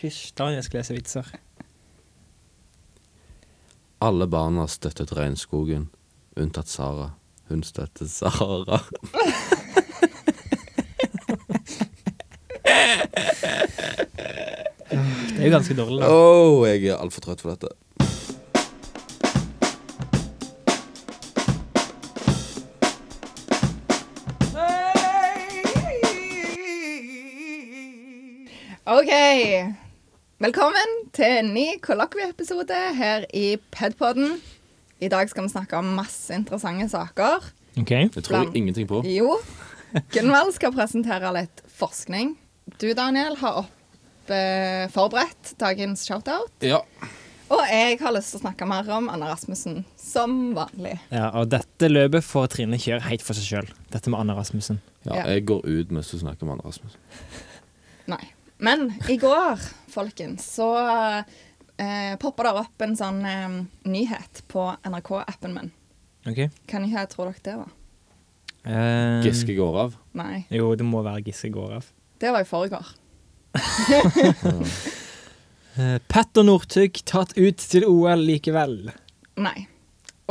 Hysj, Daniel skal lese vitser. Alle barna støttet regnskogen, unntatt Sara. Hun støttet Sahara. Det er jo ganske dårlig, da. Oh, jeg er altfor trøtt for dette. OK. Velkommen til en ny kollokvieepisode her i Pedpodden. I dag skal vi snakke om masse interessante saker. Ok. Jeg tror Bland- ingenting på. Jo, Gunvald skal presentere litt forskning. Du, Daniel, har opp eh, forberedt dagens shoutout. Ja. Og jeg har lyst til å snakke mer om Anna Rasmussen, som vanlig. Ja, og dette løpet får Trine kjøre helt for seg sjøl. Dette med Anne Rasmussen. ja. Ja. Jeg går ut mens du snakker med Anne Rasmus. Nei. Men i går, folkens, så eh, poppa det opp en sånn eh, nyhet på NRK-appen min. Ok. Hva nyhet tror dere det var? Eh, Giske går av. Nei, Jo, det må være Giske går av. det var i forgår. Eh, Petter Northug tatt ut til OL likevel. Nei.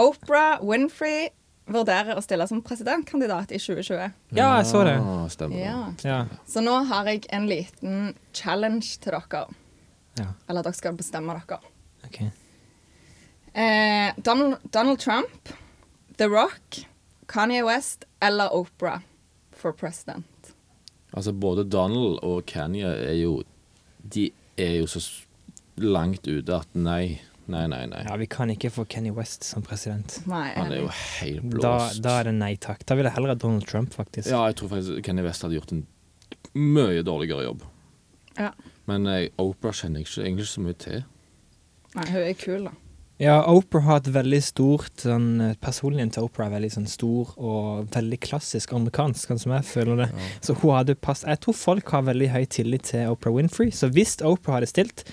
Oprah Winfrey vurderer å stille som presidentkandidat i 2020. Ja, jeg så det. Ah, stemmer det. Ja. Ja. Så nå har jeg en liten challenge til dere. ja. Eller dere skal bestemme dere. Ok. Eh, Donald, Donald Trump, The Rock, Kanye West eller Oprah for president. Altså, både Donald og Kanye er jo De er jo så s- langt ute at nei, nei, nei. nei. Ja, vi kan ikke få Kenny West som president. Nei, Han er jo enig. helt Da, blåst. da er det nei takk. Da vil jeg heller ha Donald Trump, faktisk. Ja, jeg tror faktisk Kanye West hadde gjort en mye dårligere jobb. Ja. Men eh, Oprah kjenner jeg ikke egentlig ikke så mye til. Nei, hun er kul, da. Ja, Oprah har et veldig stort sånn, eh, Personligheten til Oprah er veldig sånn, stor og veldig klassisk amerikansk, sånn som jeg føler det. Så hun hadde pass... Jeg tror folk har veldig høy tillit til Oprah Winfrey, så hvis Oprah hadde stilt,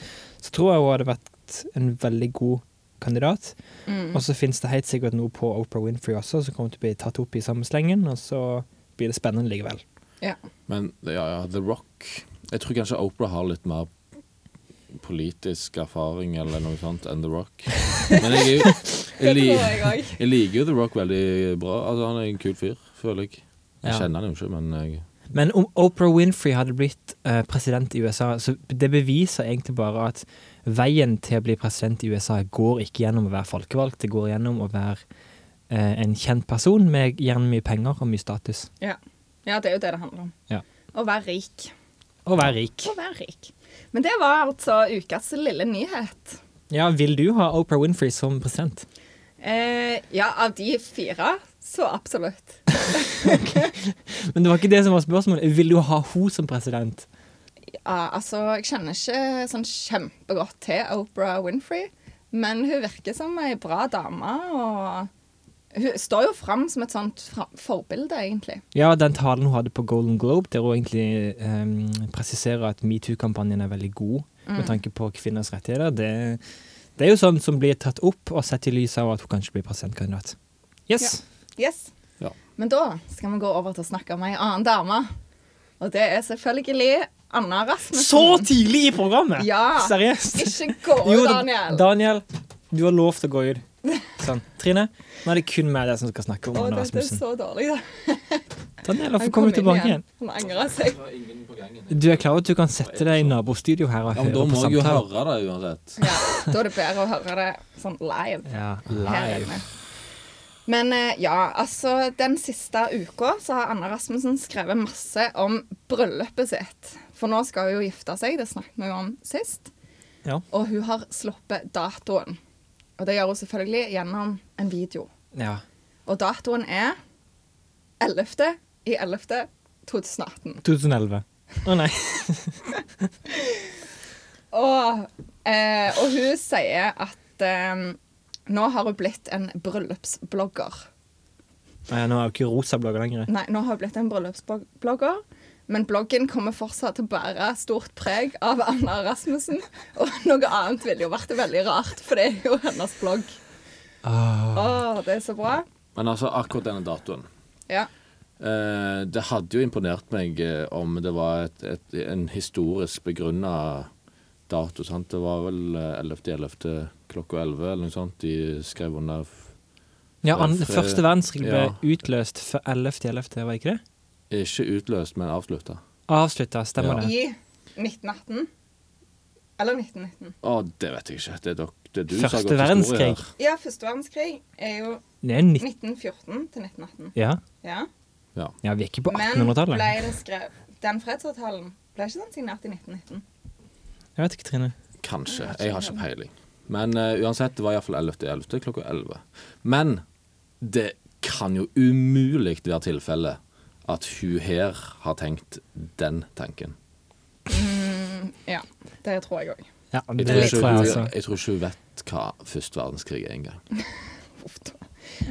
så tror jeg hun hadde vært en veldig god kandidat. Mm. Og så finnes det helt sikkert noe på Oprah Winfrey også som kommer til å bli tatt opp i samme slengen, og så blir det spennende likevel. Ja. Men ja, ja, The Rock Jeg tror kanskje Oprah har litt mer politisk erfaring eller noe sånt enn The Rock. Men jeg, er jo, jeg, Det tror li, jeg òg. jeg liker jo The Rock veldig bra. Altså, han er en kul fyr, føler jeg. Jeg Ja. kjenner han jo ikke, men jeg, Men om Oprah Winfrey hadde blitt eh, president i USA, så det beviser egentlig bare at veien til å bli president i USA går ikke gjennom å være folkevalgt, det går gjennom å være eh, en kjent person med gjerne mye penger og mye status. Ja. ja, det er jo det det handler om. Ja. Å være rik. Og være rik. Å være rik. Men det var altså ukas lille nyhet. Ja, vil du ha Oprah Winfrey som president? Eh, ja, av de fire, så absolutt. Men det var ikke det som var spørsmålet. Vil du ha hun som president? Ja, altså, jeg kjenner ikke sånn kjempegodt til Oprah Winfrey, men hun virker som ei bra dame, og hun står jo fram som et sånt fra- forbilde, egentlig. Ja, den talen hun hadde på Golden Globe, der hun egentlig eh, presiserer at metoo-kampanjen er veldig god Mm. med tanke på kvinners rettigheter, det, det er jo sånn som blir tatt opp og sett i lys av at hun kanskje blir presidentkandidat. Yes. Yes. Ja. Men da skal vi gå over til å snakke om ei annen dame, og det er selvfølgelig Anna Rasmussen. Så tidlig i programmet! sånn. Ja. Seriøst. Ikke gå, Jo, da- Daniel. Daniel, du har lov til å gå ut. Sånn. Trine, nå er det kun meg og deg som skal snakke om Å, Anna dette er Rasmussen. så dårlig. da. Daniel, Han hvorfor kommer kom du tilbake inn igjen? Han angrer seg. Du er klar over at du kan sette deg i nabostudio her og ja, høre men Da på må jeg jo samtalen? høre det uansett. Ja, da er det bedre å høre det sånn live. Ja, her live. inne. Men eh, ja, altså den siste uka så har Anna Rasmussen skrevet masse om bryllupet sitt. For nå skal hun jo gifte seg, det snakket vi jo om sist. Ja. Og hun har sluppet datoen. Og det gjør hun selvfølgelig gjennom en video. ja. Og datoen er 11. i 11. 2018. 2011. Å nei. Og, eh, og hun sier at eh, nå har hun blitt en bryllupsblogger. Nei, Nå er jo ikke rosa blogger lenger. Nei, nå har jeg blitt en bryllupsblogger, men bloggen kommer fortsatt til å bære stort preg av Anna Rasmussen. Og noe annet ville jo vært veldig rart, for det er jo hennes blogg. Ah. Åh, det er så bra. Men altså, akkurat denne datoen Ja. eh, Det hadde jo imponert meg eh, om det var et, et, en historisk begrunna dato. sant? Det var vel eh, 11.11. klokka 11 eller noe sånt. De skrev under f- Ja, an, Fred- Første verdenskrig ble Ja. utløst før 11.11., var det ikke det? Ikke utløst, men avslutta. Avslutta, stemmer Ja. det. I 1918. Eller 1919. Å, det vet jeg ikke. Det er, dok det er du som har Første gått historie verdenskrig. her. Ja, første verdenskrig er jo Det er 19... 1914 til 1918. Ja. Ja. ja, vi er ikke på Men ble 1800-tallet. det skrevet Den fredsavtalen ble ikke den signert i 1919? Jeg vet ikke, Trine. Kanskje. Jeg har ikke peiling. Men eh, uansett, det var iallfall 11.11. klokka 11. Men det kan jo umulig være tilfellet at hun her har tenkt den tanken. Ja, det tror jeg òg. Ja, det tror jeg Jeg tror, ikke, altså. hun, jeg tror ikke hun vet hva første verdenskrig er engang.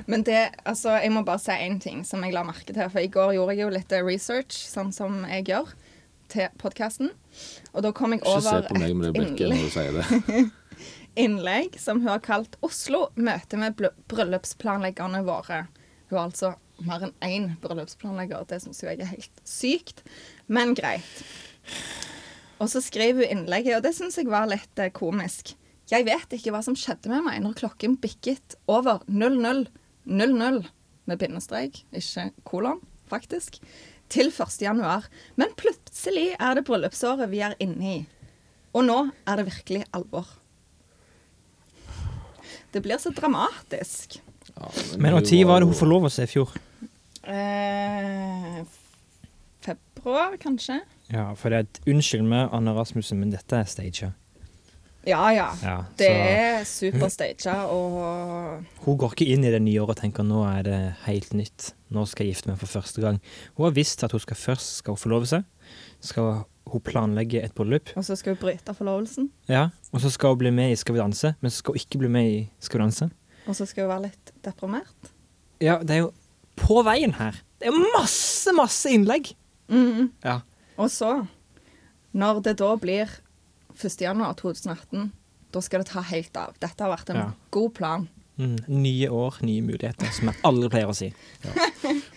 Men det, altså, jeg må bare si én ting som jeg la merke til. For i går gjorde jeg jo litt eh, research, sånn som jeg gjør, til podkasten. Og da kom jeg Ikke se over på meg med det et blikket innlegg, når du sier det. innlegg som hun har kalt 'Oslo møte med bl- bryllupsplanleggerne våre'. Hun har altså mer enn én bryllupsplanlegger. Det syns jeg er helt sykt, men greit. Og så skriver hun innlegget, og det syns jeg var litt eh, komisk. Jeg vet ikke hva som skjedde med meg når klokken bikket over 00.00 med bindestrek, ikke kolon, faktisk, til 1. januar. Men plutselig er det bryllupsåret vi er inne i. Og nå er det virkelig alvor. Det blir så dramatisk. Ja, Men hun når var det jo- hun forlova seg i fjor? Eh, februar, kanskje? Ja, for det er et Unnskyld meg, Anne Rasmussen, men dette er staged. Ja, ja. Ja, Det så- er superstaged og Hun går ikke inn i det nye året og tenker nå er det helt nytt. Nå skal jeg gifte meg for første gang. Hun har visst at hun skal først skal hun forlove seg. Skal hun planlegge et bryllup. Og så skal vi bryte forlovelsen. Ja. Og så skal hun bli med i Skal vi danse, men så skal hun ikke bli med i Skal vi danse. Og så skal vi være litt deprimert. Ja, det er jo på veien her. Det er masse, masse innlegg. Ja. Og så, når det da blir 1. januar 2018, da skal det ta helt av. Dette har vært en Ja. god plan. Mm. Nye år, nye muligheter, som jeg aldri pleier å si.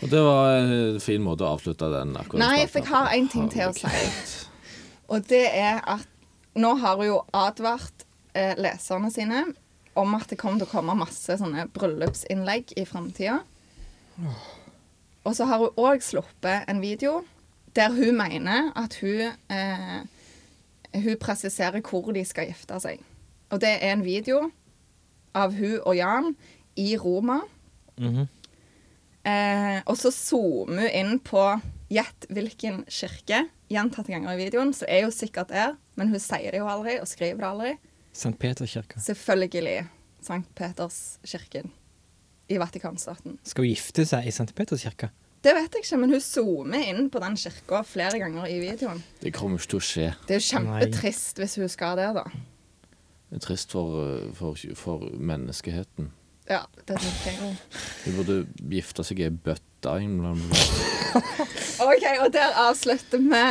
Og det var en fin måte å avslutte den akkurat. Nei, for jeg har en ting til å si. Og det er at nå har hun jo advart eh, leserne sine om at det kommer til å komme masse sånne bryllupsinnlegg i framtida. Og så har hun òg sluppet en video der hun mener at hun eh, Hun presiserer hvor de skal gifte seg. Og det er en video av hun og Jan i Roma. Mhm. Eh, og så zoomer hun inn på gjett hvilken kirke. Gjentatte ganger i videoen, så er hun sikkert der, men hun sier det jo aldri og skriver det aldri. St. Peterkirka. Selvfølgelig Sankt Peterskirken i Vatikanstaten. Skal hun gifte seg i St. Peterskirka? Det vet jeg ikke, men hun zoomer inn på den kirka flere ganger i videoen. Det kommer ikke til å skje. Det er jo kjempetrist hvis hun skal der, da. Det er trist for, eh, for, for menneskeheten. Ja, det tenker jeg også. Hun burde gifte seg i ei bøtte. en eller annen plass. OK, og der avslutter vi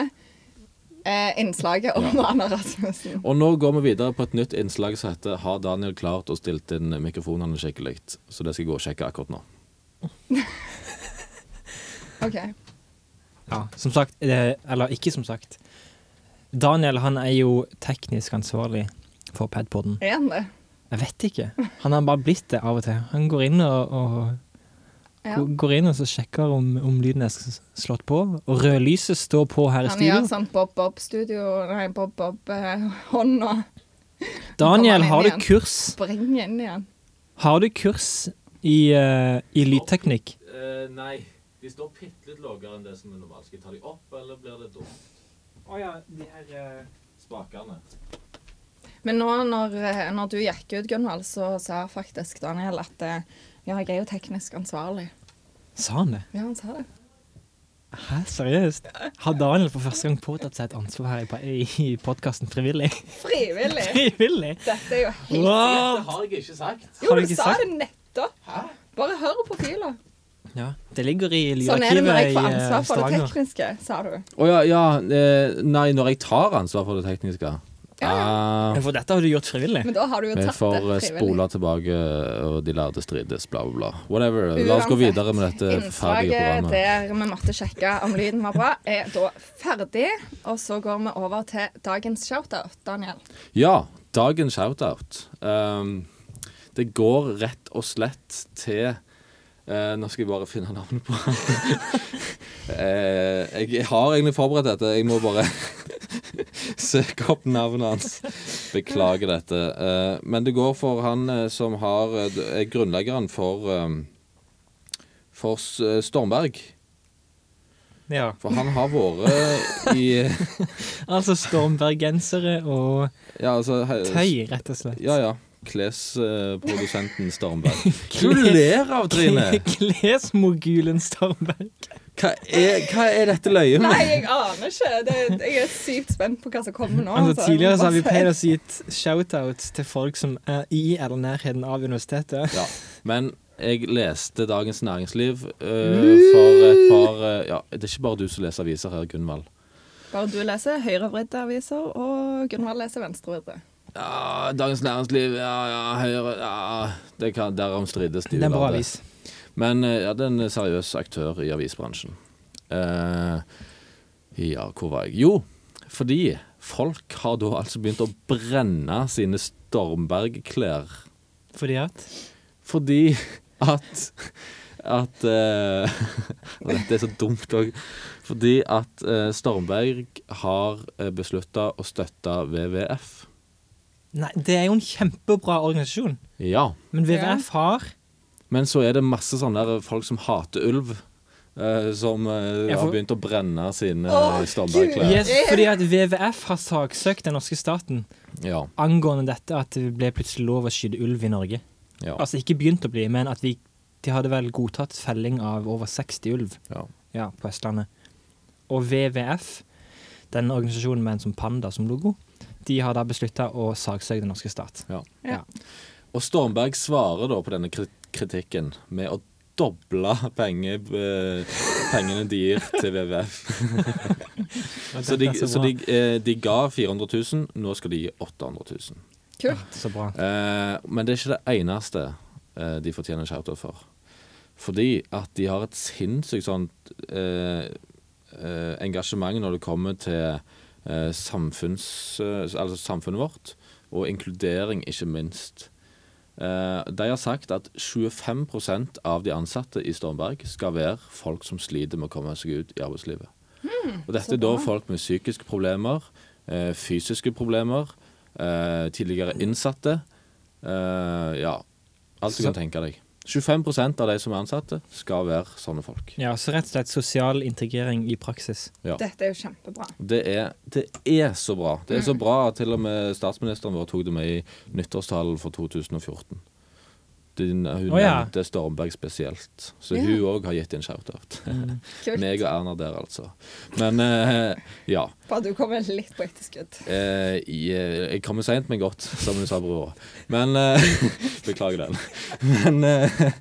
eh, innslaget om Anna Rasmussen. Og nå går vi videre på et nytt innslag som heter 'Har Daniel klart å stilt inn mikrofonene skikkelig?' Så det skal jeg gå og sjekke akkurat nå. OK. Ja, som sagt, eh, eller ikke som sagt. Daniel han er jo teknisk ansvarlig for padpoden. Er han det? Jeg vet ikke. Han har bare blitt det av og til. Han går inn og, og, Ja. går- går inn og så sjekker om, om lyden er s- slått på. Og rødlyset står på her i Han studio. gjør sånn bob-bob-studio, nei, eh, bob-bob-hånd og Daniel, Kommer han har inn du igjen? kurs? springer inn igjen. Har du kurs i, eh, i lydteknikk? Eh, nei. De står bitte litt lavere enn det som er normalt. Skal jeg ta de opp, eller blir det dumt? Å ja, de her eh, Spakene. Men nå når, eh, når du gikk ut, Gunvald, så sa faktisk Daniel at eh, ja, jeg er jo teknisk ansvarlig. Sa han det? Ja, han sa det. Hæ, seriøst? Har Daniel for første gang påtatt seg et ansvar her i, pa- i podkasten frivillig? Frivillig! frivillig? Dette er jo helt altså. Wow! har jeg ikke sagt. Jo, Har du du ikke sa sagt? det nettopp! Bare hør på fila. Ja, det ligger i Sånn er det lydarkivet når jeg i eh, får ansvar for det Stavanger. tekniske, sa du. Å ja, ja. eh, Nei, når jeg tar ansvar for det tekniske. Ah, For dette har du gjort frivillig. Men da har du jo vi tatt får eh, det spole tilbake, eh, og de lærde strides, bla, bla, bla. Whatever. La oss gå Uansett, videre med dette forferdelige Innslaget programmet. der vi måtte sjekke om lyden var bra, er da ferdig. Og så går vi over til dagens shoutout, Daniel. Ja, dagens shoutout. Um, det går rett og slett til eh, Nå skal jeg bare finne navnet på han. Eh, jeg har egentlig forberedt dette. Jeg må bare søke opp navnet hans. Beklager dette. Eh, men det går for han eh, som har, eh, er grunnleggeren for, um, for S- eh, Stormberg. Ja. For han har vært eh, i Altså stormbergensere og ja, altså, he- tøy, rett og slett. Ja, ja. Klesprodusenten Stormberg. Kle- Hva du ler av, Trine? Klesmogulen Stormberg. Hva er, hva er dette løyet Nei, med? jeg aner ikke. Det, jeg er sykt spent på hva som kommer nå. Altså, altså. tidligere så har vi Bare- pleid å si et shout-out til folk som er i eller nærheten av universitetet. Ja, men jeg leste Dagens Næringsliv eh, for et par eh, Ja, det er ikke bare du som leser aviser her, Gunvald. Bare du leser høyrevridde aviser, og Gunvald leser venstrevridde. Ja, Dagens Næringsliv, ja, ja, Høyre ja, det kan, Derom strides de Det er en bra ulærde. avis. Men eh, ja, det er en seriøs aktør i avisbransjen. Eh, ja, hvor var jeg? Jo, fordi folk har da altså begynt å brenne sine Stormberg-klær. Fordi at Fordi at at eh, og Dette er så dumt òg. Fordi at eh, Stormberg har beslutta å støtte WWF. Nei, det er jo en kjempebra organisasjon. Ja. Men VVF har Men så er det masse sånne der folk som hater ulv. eh, som eh, Ja, for- har begynt å brenne sine Å, eh, Stormberg-klær. yes, Fordi at VVF har saksøkt den norske staten Ja, angående dette at det ble plutselig lov å skyte ulv i Norge. ja, Altså ikke begynt å bli, men at vi, de hadde vel godtatt felling av over 60 ulv ja. ja, på Østlandet. Og VVF, den organisasjonen med en som panda som logo, de har da beslutta å saksøke den norske stat. ja. Ja. Og Stormberg svarer da på denne kri- kritikken med å doble penge, eh, pengene de gir til WWF. så de, Dette er så så, de, bra. eh, de ga 400 000, nå skal de gi 800 000. Kult. så bra. Eh, men det er ikke det eneste eh, de fortjener shoutout for. Fordi at de har et sinnssykt sånt eh, eh, engasjement når det kommer til eh, samfunns, eh, altså samfunnet vårt, og inkludering, ikke minst. Eh, de har sagt at 25 av de ansatte i Stormberg skal være folk som sliter med å komme seg ut i arbeidslivet. Og dette er da folk med psykiske problemer, eh, fysiske problemer, eh, tidligere innsatte. Eh, ja, alt du Så- kan tenke deg. 25 av de som er ansatte, skal være sånne folk. Ja, så rett og slett sosial integrering i praksis. Ja. Dette er jo kjempebra. Det er, det er så bra. Det Mm. er så bra at til og med statsministeren vår tok det med i nyttårstalen for 2014. Din, hun Å, ja. nevnte Stormberg spesielt, så Ja. hun òg har gitt en shout-out. Mm. Kult. Meg og Erna der, altså. Men eh, ja. Bare du kommer litt på etterskudd. Eh, jeg, jeg kommer seint, men godt, som du sa, bror. Men eh, Beklager den. Men eh,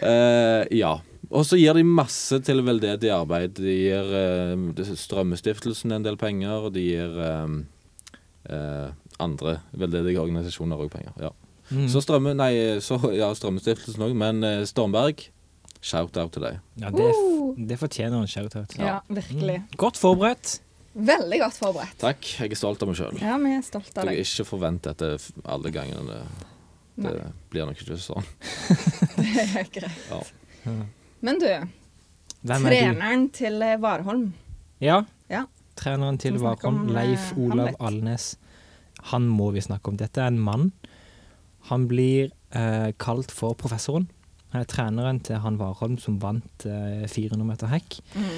eh, ja. Og så gir de masse til veldedig arbeid. De gir eh, Strømmestiftelsen en del penger, og de gir eh, eh, andre veldedige organisasjoner òg penger. Ja. Mm. Så strømme, nei, så, ja, Strømmestiftelsen òg, men eh, Stormberg, shout-out til deg. Ja, det, Uh. det fortjener en shoutout. Ja, virkelig. Godt forberedt. Veldig godt forberedt. Takk, jeg er stolt av meg sjøl. Ja, vi er stolte av Dere deg. ikke forvent dette f- alle gangene. Det, det Nei. blir nok ikke sånn. Det er greit. Ja. Men du, Hvem er du? treneren til eh, Warholm. Ja, Ja. treneren til Skal vi snakke Warholm, om, eh, Leif Olav Hamlet? Alnes. Han må vi snakke om. Dette er en mann. Han blir eh, kalt for professoren. Han er treneren til han Warholm som vant eh, 400 meter hekk. Mm.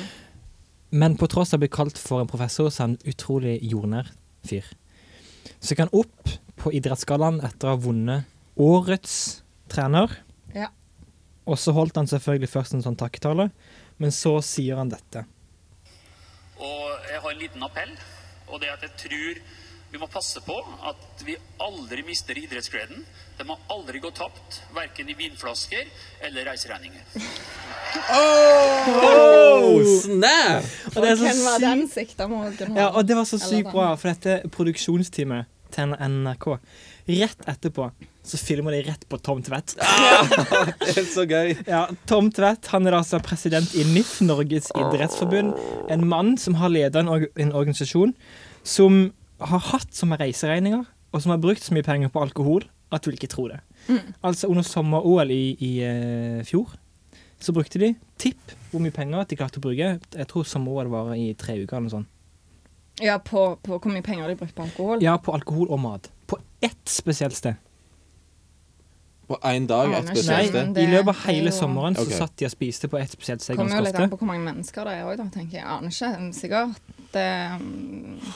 Men på tross av å bli kalt for en professor, så er han en utrolig jordnær fyr. Så gikk han opp på idrettsgallaen etter å ha vunnet årets trener. Ja. Og så holdt han selvfølgelig først en sånn takketale, men så sier han dette. Og jeg har en liten appell, og det er at jeg tror vi må passe på at vi aldri mister idrettsgleden. Den må aldri gå tapt, verken i vinflasker eller reiseregninger. Oh, snap! Og det er så Hvem var sykt- den sikta mot? Gunvald? Ja, og det var så Eller sånn. sykt den. bra, for dette produksjonsteamet til NRK. Rett etterpå så filmer de rett på Tom Tvedt. Det er så gøy. Ja, Tom Tvedt han er altså president i NIF, Norges idrettsforbund. En mann som har ledet en, org- en organisasjon som har hatt så mye reiseregninger, og som har brukt så mye penger på alkohol at du vil ikke tro det. Altså under sommer-OL i, i eh, fjor så brukte de tipp hvor mye penger de klarte å bruke. Jeg tror sommer-OL varer i tre uker eller noe sånt. Ja, på, på hvor mye penger de brukte på alkohol? Ja, på alkohol og mat. På ett spesielt sted. På én dag, et Aner ikke, Nei, spesielt sted. men I det- løpet av det er hele jo- sommeren så Ok. satt de og spiste på ett spesielt sted Kommer jo litt ganske an på ofte. hvor mange mennesker det er òg, tenker jeg. Jeg Aner ikke. men Sikkert eh,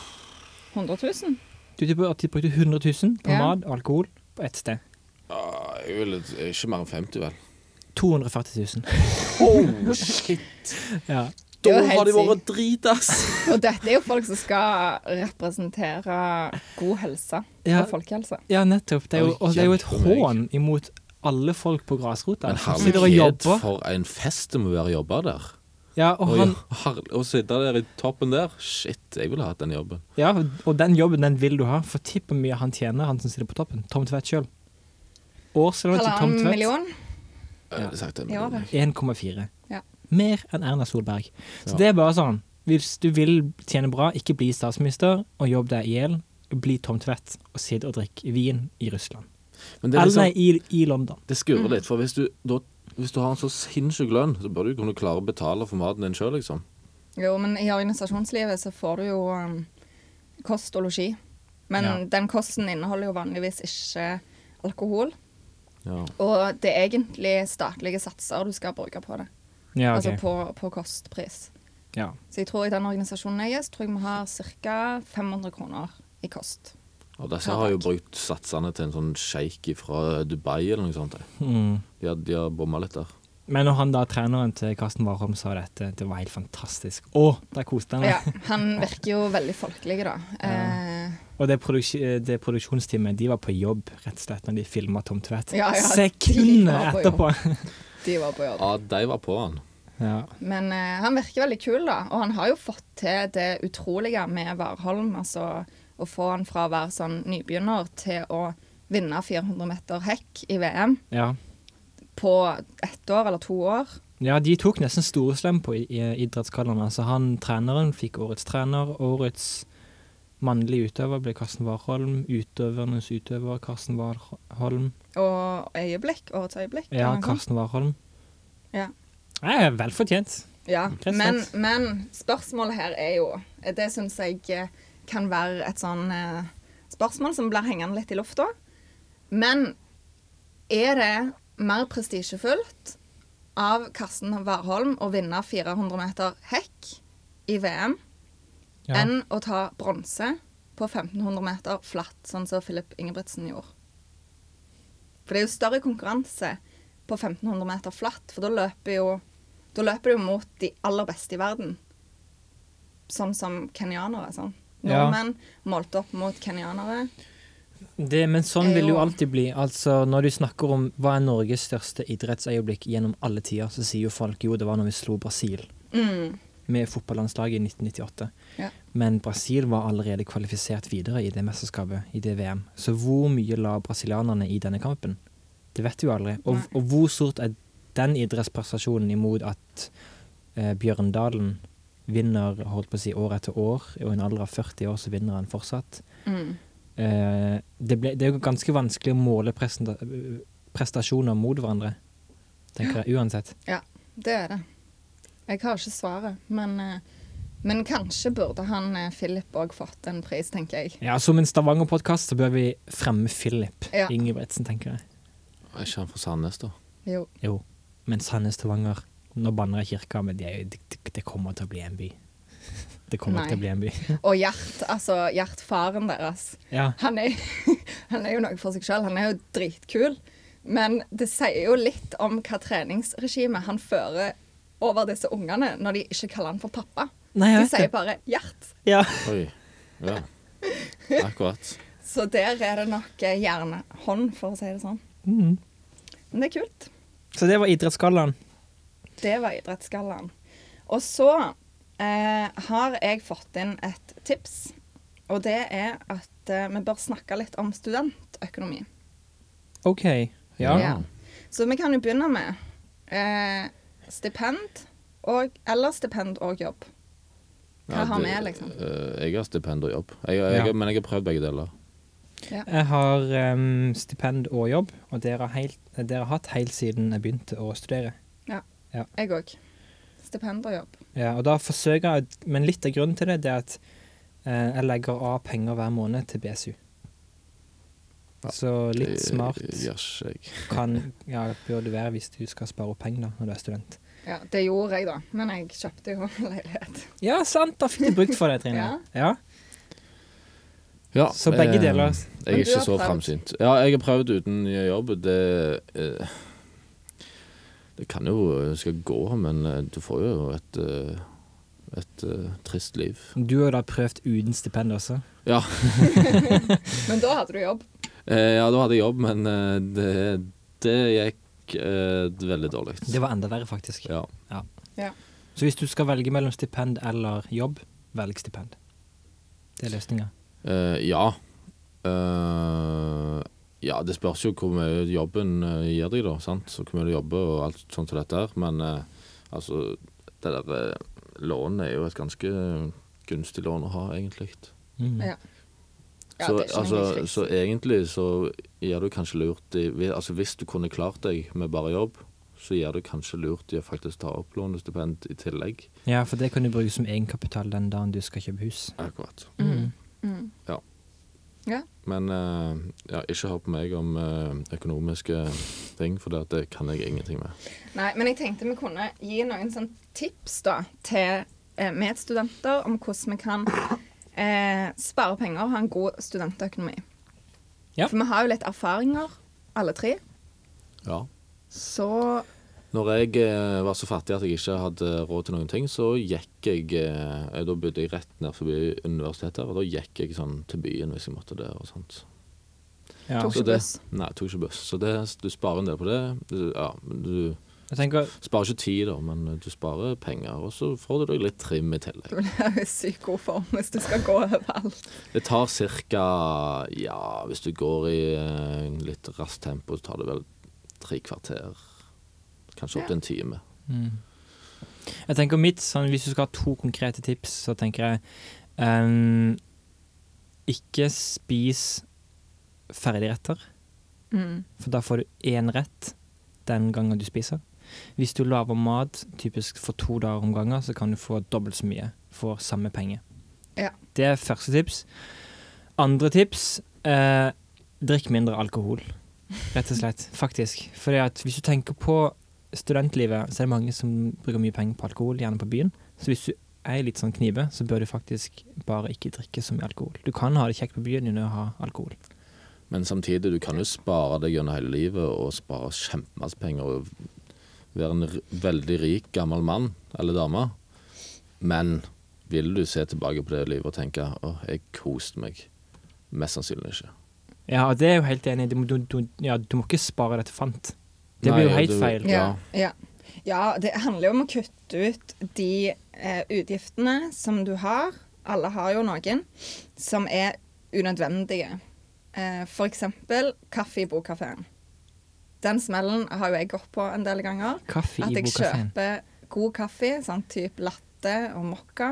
100 000. Du tipper at de brukte 100 000 på Ja. mat og alkohol på ett sted. Ah, jeg vil, ikke mer enn 50, vel. 240 000. Oh, shit. Ja. Det Da er jo helt har de vært sykt. dritass. Og dette er jo folk som skal representere god helse Ja. og folkehelse. nettopp. Det er jo, Oi, og det er jo et hjelpe meg. hån imot alle folk på grasrota. Men som sitter og herlighet, jobber. for en fest det må være å jobbe der. Ja, og, Å han, herl- å sitte der i toppen der. Shit, jeg ville hatt den jobben. ja, og den jobben den vil du ha, for tipp hvor mye han tjener, han som sitter på toppen. Tom Tvedt sjøl. Årslønna til Tom Halvannen Tvedt million. Jeg ville sagt en I million, året. jeg. 1,4. Ja. Mer enn Erna Solberg. Så Ja. det er bare sånn. Hvis du vil tjene bra, ikke bli statsminister, og jobb deg i hjel, bli Tom Tvedt og sitt og drikk vin i Russland. Men det, er Eller nei, liksom, i, i London. det skurrer Mm. litt, for hvis du, da, hvis du har en så sinnssyk lønn, så bør du kunne klare å betale for maten din sjøl, liksom. Jo, men i organisasjonslivet så får du jo um, kost og losji. Men Ja. den kosten inneholder jo vanligvis ikke alkohol. Ja. Og det er egentlig statlige satser du skal bruke på det. Ja, Altså ok. på, på kostpris. Ja. Så jeg tror i den organisasjonen jeg er, så tror jeg vi har ca. 500 kroner i kost. Og disse har jo brukt satsene til en sånn sjeik fra Dubai eller noe sånt. De Mm. har, de har bomma litt der. Men når han da treneren til Karsten Warholm sa dette, det var helt fantastisk. Å, der koste han Ja, meg. han virker jo veldig folkelig, da. Eh, Og det, produks det produksjonsteamet, de var på jobb, rett og slett, når de filma Tom Tvedt. Ja, ja, de Sekunder var på etterpå! de var på jobb. Ja, de var på han. Ja. Men eh, han virker veldig kul, da. Og han har jo fått til det utrolige med Warholm. Altså å få han fra å være sånn nybegynner til å vinne 400 meter hekk i VM ja. på ett år eller to år. Ja, de tok nesten storeslem på i- i- idrettsgallaen. Altså, han treneren fikk årets trener, årets mannlige utøver ble Karsten Warholm, utøvernes utøver Karsten Warholm. Og øyeblikk. Årets øyeblikk. Ja, sånn. eller noe sånt. Karsten Warholm. Ja. Nei, vel fortjent. Ja, Rett og men, slett. men spørsmålet her er jo Det syns jeg eh, kan være et sånn eh, spørsmål som blir hengende litt i lufta. Men er det mer prestisjefullt av Karsten Warholm å vinne 400 meter hekk i VM Ja. enn å ta bronse på 1500 meter flatt, sånn som Filip Ingebrigtsen gjorde? For det er jo større konkurranse på 1500 meter flatt, for da løper jo da løper du jo mot de aller beste i verden. Sånn som kenyanere. sånn. Ja. Nordmenn målt opp mot kenyanere. Det, men sånn er vil det jo jo- alltid bli. Altså, når du snakker om hva er Norges største idrettsøyeblikk gjennom alle tider, så sier jo folk jo det var når vi slo Brasil Mm. med fotballandslaget i 1998. Ja. Men Brasil var allerede kvalifisert videre i det mesterskapet, i det VM. Så hvor mye la brasilianerne i denne kampen? Det vet vi jo aldri. Og, Nei. og hvor stort er den idrettsprestasjonen imot at eh, Bjørndalen vinner holdt på å si, år etter år, og i en alder av 40 år så vinner han fortsatt? Mm. Eh, det, ble, det er jo ganske vanskelig å måle presenta- eh, prestasjoner mot hverandre, tenker jeg, uansett. Det er det. Jeg har ikke svaret, men, eh, men kanskje burde han eh, Philip òg fått en pris, tenker jeg. Ja, Som en Stavanger-podkast så bør vi fremme Philip Ja. Ingebrigtsen, tenker jeg. Er ikke han fra Sandnes, da? Jo. Jo, men Sandnes Stavanger Nå banner jeg kirka, men det, er jo- det, det- det kommer til å bli en by. Det kommer Nei. til å bli en by. Og Gjert, altså Gjert, faren deres. Ja, Han er, han er jo noe for seg sjøl. Han er jo dritkul. Men det sier jo litt om hva treningsregime han fører over disse ungene når de ikke kaller han for pappa. Nei, jeg De vet sier det. bare 'Gjert'. ja. Oi. Ja. Akkurat. Så der er det nok eh, hjernehånd, for å si det sånn. Mhm. Men det er kult. Så det var Idrettsgallaen. Det var Idrettsgallaen. Og så eh, har jeg fått inn et tips Og det er at eh, vi bør snakke litt om studentøkonomi. OK. Ja. Ja. Så vi kan jo begynne med eh, stipend og, eller stipend og jobb. Hva Ja, har det- vi, liksom? eh, jeg har stipend og jobb, jeg, jeg, Ja. men jeg har prøvd begge deler. Jeg har em, stipend og jobb, og dere har, heilt, dere har hatt helt siden jeg begynte å studere. Jeg òg. Stipend og jobb. Ja, og da forsøker jeg, men litt av grunnen til det, det er at eh, jeg legger av penger hver måned til BSU. Ja, Så litt Det smart Gjør ikke jeg. kan, ja, bør det være hvis du skal spare opp penger da, når du er student. Ja, det gjorde jeg, da. Men jeg kjøpte jo leilighet. Ja, sant, da fikk du brukt for det, Trine. Ja. ja. Ja, Så begge eh, deler. Jeg er Men ikke du har så prøvd. framsynt. Ja, jeg har prøvd uten jobb. Det eh, Det kan jo skal gå, men eh, du får jo et eh, et eh, trist liv. Du har da prøvd uten stipend også. Ja, Men da hadde du jobb. eh, ja da hadde jeg jobb, men eh, det, det gikk eh, veldig dårlig. Det var enda verre, faktisk. Ja. Ja. Så hvis du skal velge mellom stipend eller jobb, velg stipend. Det er løsninga. Eh, ja. Eh, ja, det spørs jo hvor mye jobben eh, gir deg, da. sant? Så hvor mye du jobber og alt sånt som dette her. Men eh, altså, det der eh, lånet er jo et ganske gunstig lån å ha, egentlig. Mm. Ja. Ja, så, det er ikke altså, noe helt så egentlig så gjør du kanskje lurt i vi- Altså hvis du kunne klart deg med bare jobb, så gjør du kanskje lurt i å faktisk ta opp lånestipend i tillegg. Ja, for det kan du bruke som egenkapital den dagen du skal kjøpe hus. Akkurat. Mm. Mm. Ja. Ja. Men eh, ja, ikke hør på meg om eh, økonomiske ting, for det, at det kan jeg ingenting med. Nei, men jeg tenkte vi kunne gi noen sånn tips da til eh, medstudenter om hvordan vi kan eh, spare penger og ha en god studentøkonomi. Ja. For vi har jo litt erfaringer, alle tre. Ja. Så Når jeg eh, var så fattig at jeg ikke hadde råd til noen ting, så gikk jeg eh, Da bodde jeg rett ned forbi universitetet, her, og da gikk jeg sånn til byen hvis jeg måtte det. og sånt. Ja. Tok Så ikke det, buss. Nei, tok ikke buss. Så det, du sparer en del på det. Du, ja, men du Jeg tenker, sparer ikke tid, da, men du sparer penger. Og så får du deg litt trim i tillegg. du blir i sykt god form hvis du skal gå overalt. Det tar ca. Ja, hvis du går i eh, litt raskt tempo, så tar det vel tre kvarter. Kanskje opp til en time. mm. jeg tenker mitt, sånn, Hvis du skal ha to konkrete tips, så tenker jeg ehm, Ikke spis ferdigretter, Mm. for da får du én rett den gangen du spiser. Hvis du lager mat typisk for to dager om gangen, så kan du få dobbelt så mye for samme penge. Ja. Det er første tips. Andre tips eh, drikk mindre alkohol, rett og slett. Faktisk. Fordi at hvis du tenker på studentlivet, så er det mange som bruker mye penger på alkohol, gjerne på byen. Så hvis du er litt sånn knive, så bør du faktisk bare ikke drikke så mye alkohol. Du kan ha det kjekt på byen uten å ha alkohol. Men samtidig, du kan jo spare deg gjennom hele livet og spare kjempemasse penger og være en r veldig rik gammel mann eller dame. Men vil du se tilbake på det livet og tenke åh, jeg koste meg? Mest sannsynlig ikke. Ja, og det er jeg jo helt enig i. Du, må- du, du, ja, du må ikke spare det til fant. Det Nei, blir jo og helt du- feil. Ja, ja. ja, det handler jo om å kutte ut de eh, utgiftene som du har. Alle har jo noen som er unødvendige. Eh, for eksempel kaffe i bokkafeen. Den smellen har jo jeg gått på en del ganger. Kaffe At i jeg bokkafeen. kjøper god kaffe, sånn type latte og mokka,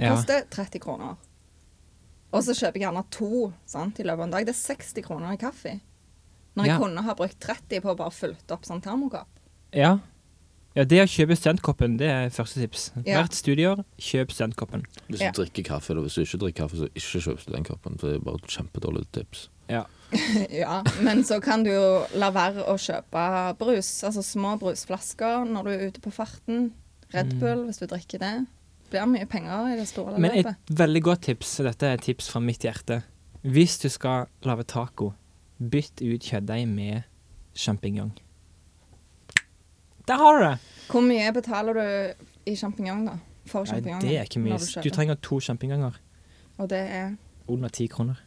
Ja. koster 30 kroner. Og så kjøper jeg gjerne to sant, i løpet av en dag. Det er 60 kroner i kaffe. Når jeg Ja. kunne ha brukt 30 på å bare fylt opp sånn termokopp. Ja. ja, det å kjøpe studentkoppen, det er første tips. Ja. Hvert studieår, kjøp studentkoppen. Hvis du Ja. drikker kaffe, eller hvis du ikke drikker kaffe, så ikke kjøp den koppen. For det er bare et kjempedårlig tips. Ja. Ja, men så kan du jo la være å kjøpe brus, altså små brusflasker når du er ute på farten. Red Bull, hvis du drikker det. Blir mye penger i det store Mm. Men et løpet. veldig godt tips, og dette er et tips fra mitt hjerte. Hvis du skal lage taco, bytt ut kjøttdeig med sjampinjong. Der har du det! Hvor mye betaler du i sjampinjong, da? For Nei, sjampinjong? det er ikke mye. når Du kjøper? trenger to sjampinjonger. Og det er Under ti kroner.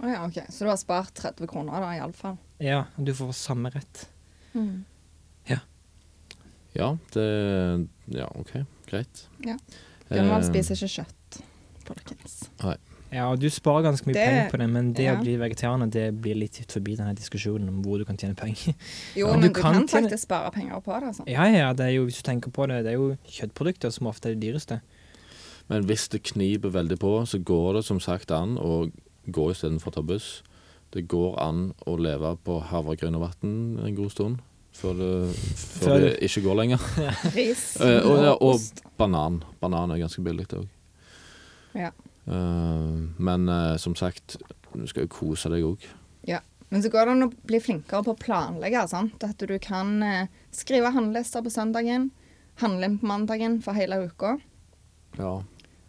Å ja, OK. Så du har spart 30 kroner, da, iallfall. Ja, og du får samme rett. Mm. Ja, det Ja, OK. Greit. Ja. Gunvald Eh, spiser ikke kjøtt, folkens. Ja, og du sparer ganske mye Det- penger på det, men det ja. å bli vegetarianer det blir litt ut forbi denne diskusjonen om hvor du kan tjene penger. Jo, Ja. men Du du, kan kan, tjene- faktisk spare penger på det. Altså. Ja, ja, det er jo, hvis du tenker på det, det er jo kjøttprodukter som ofte er de dyreste. Men hvis det kniper veldig på, så går det som sagt an å gå istedenfor å ta buss. Det går an å leve på havregryn og vann en god stund før det, før Før- det ikke går lenger. Ris Eh, og, ja, og ost. banan. Banan er ganske billig òg. Ja. men eh, som sagt, du skal jo kose deg òg. Ja. Men så går det an å bli flinkere på å planlegge. Sant? At du kan eh, skrive handlelister på søndagen, handle inn på mandagen for hele uka. Ja.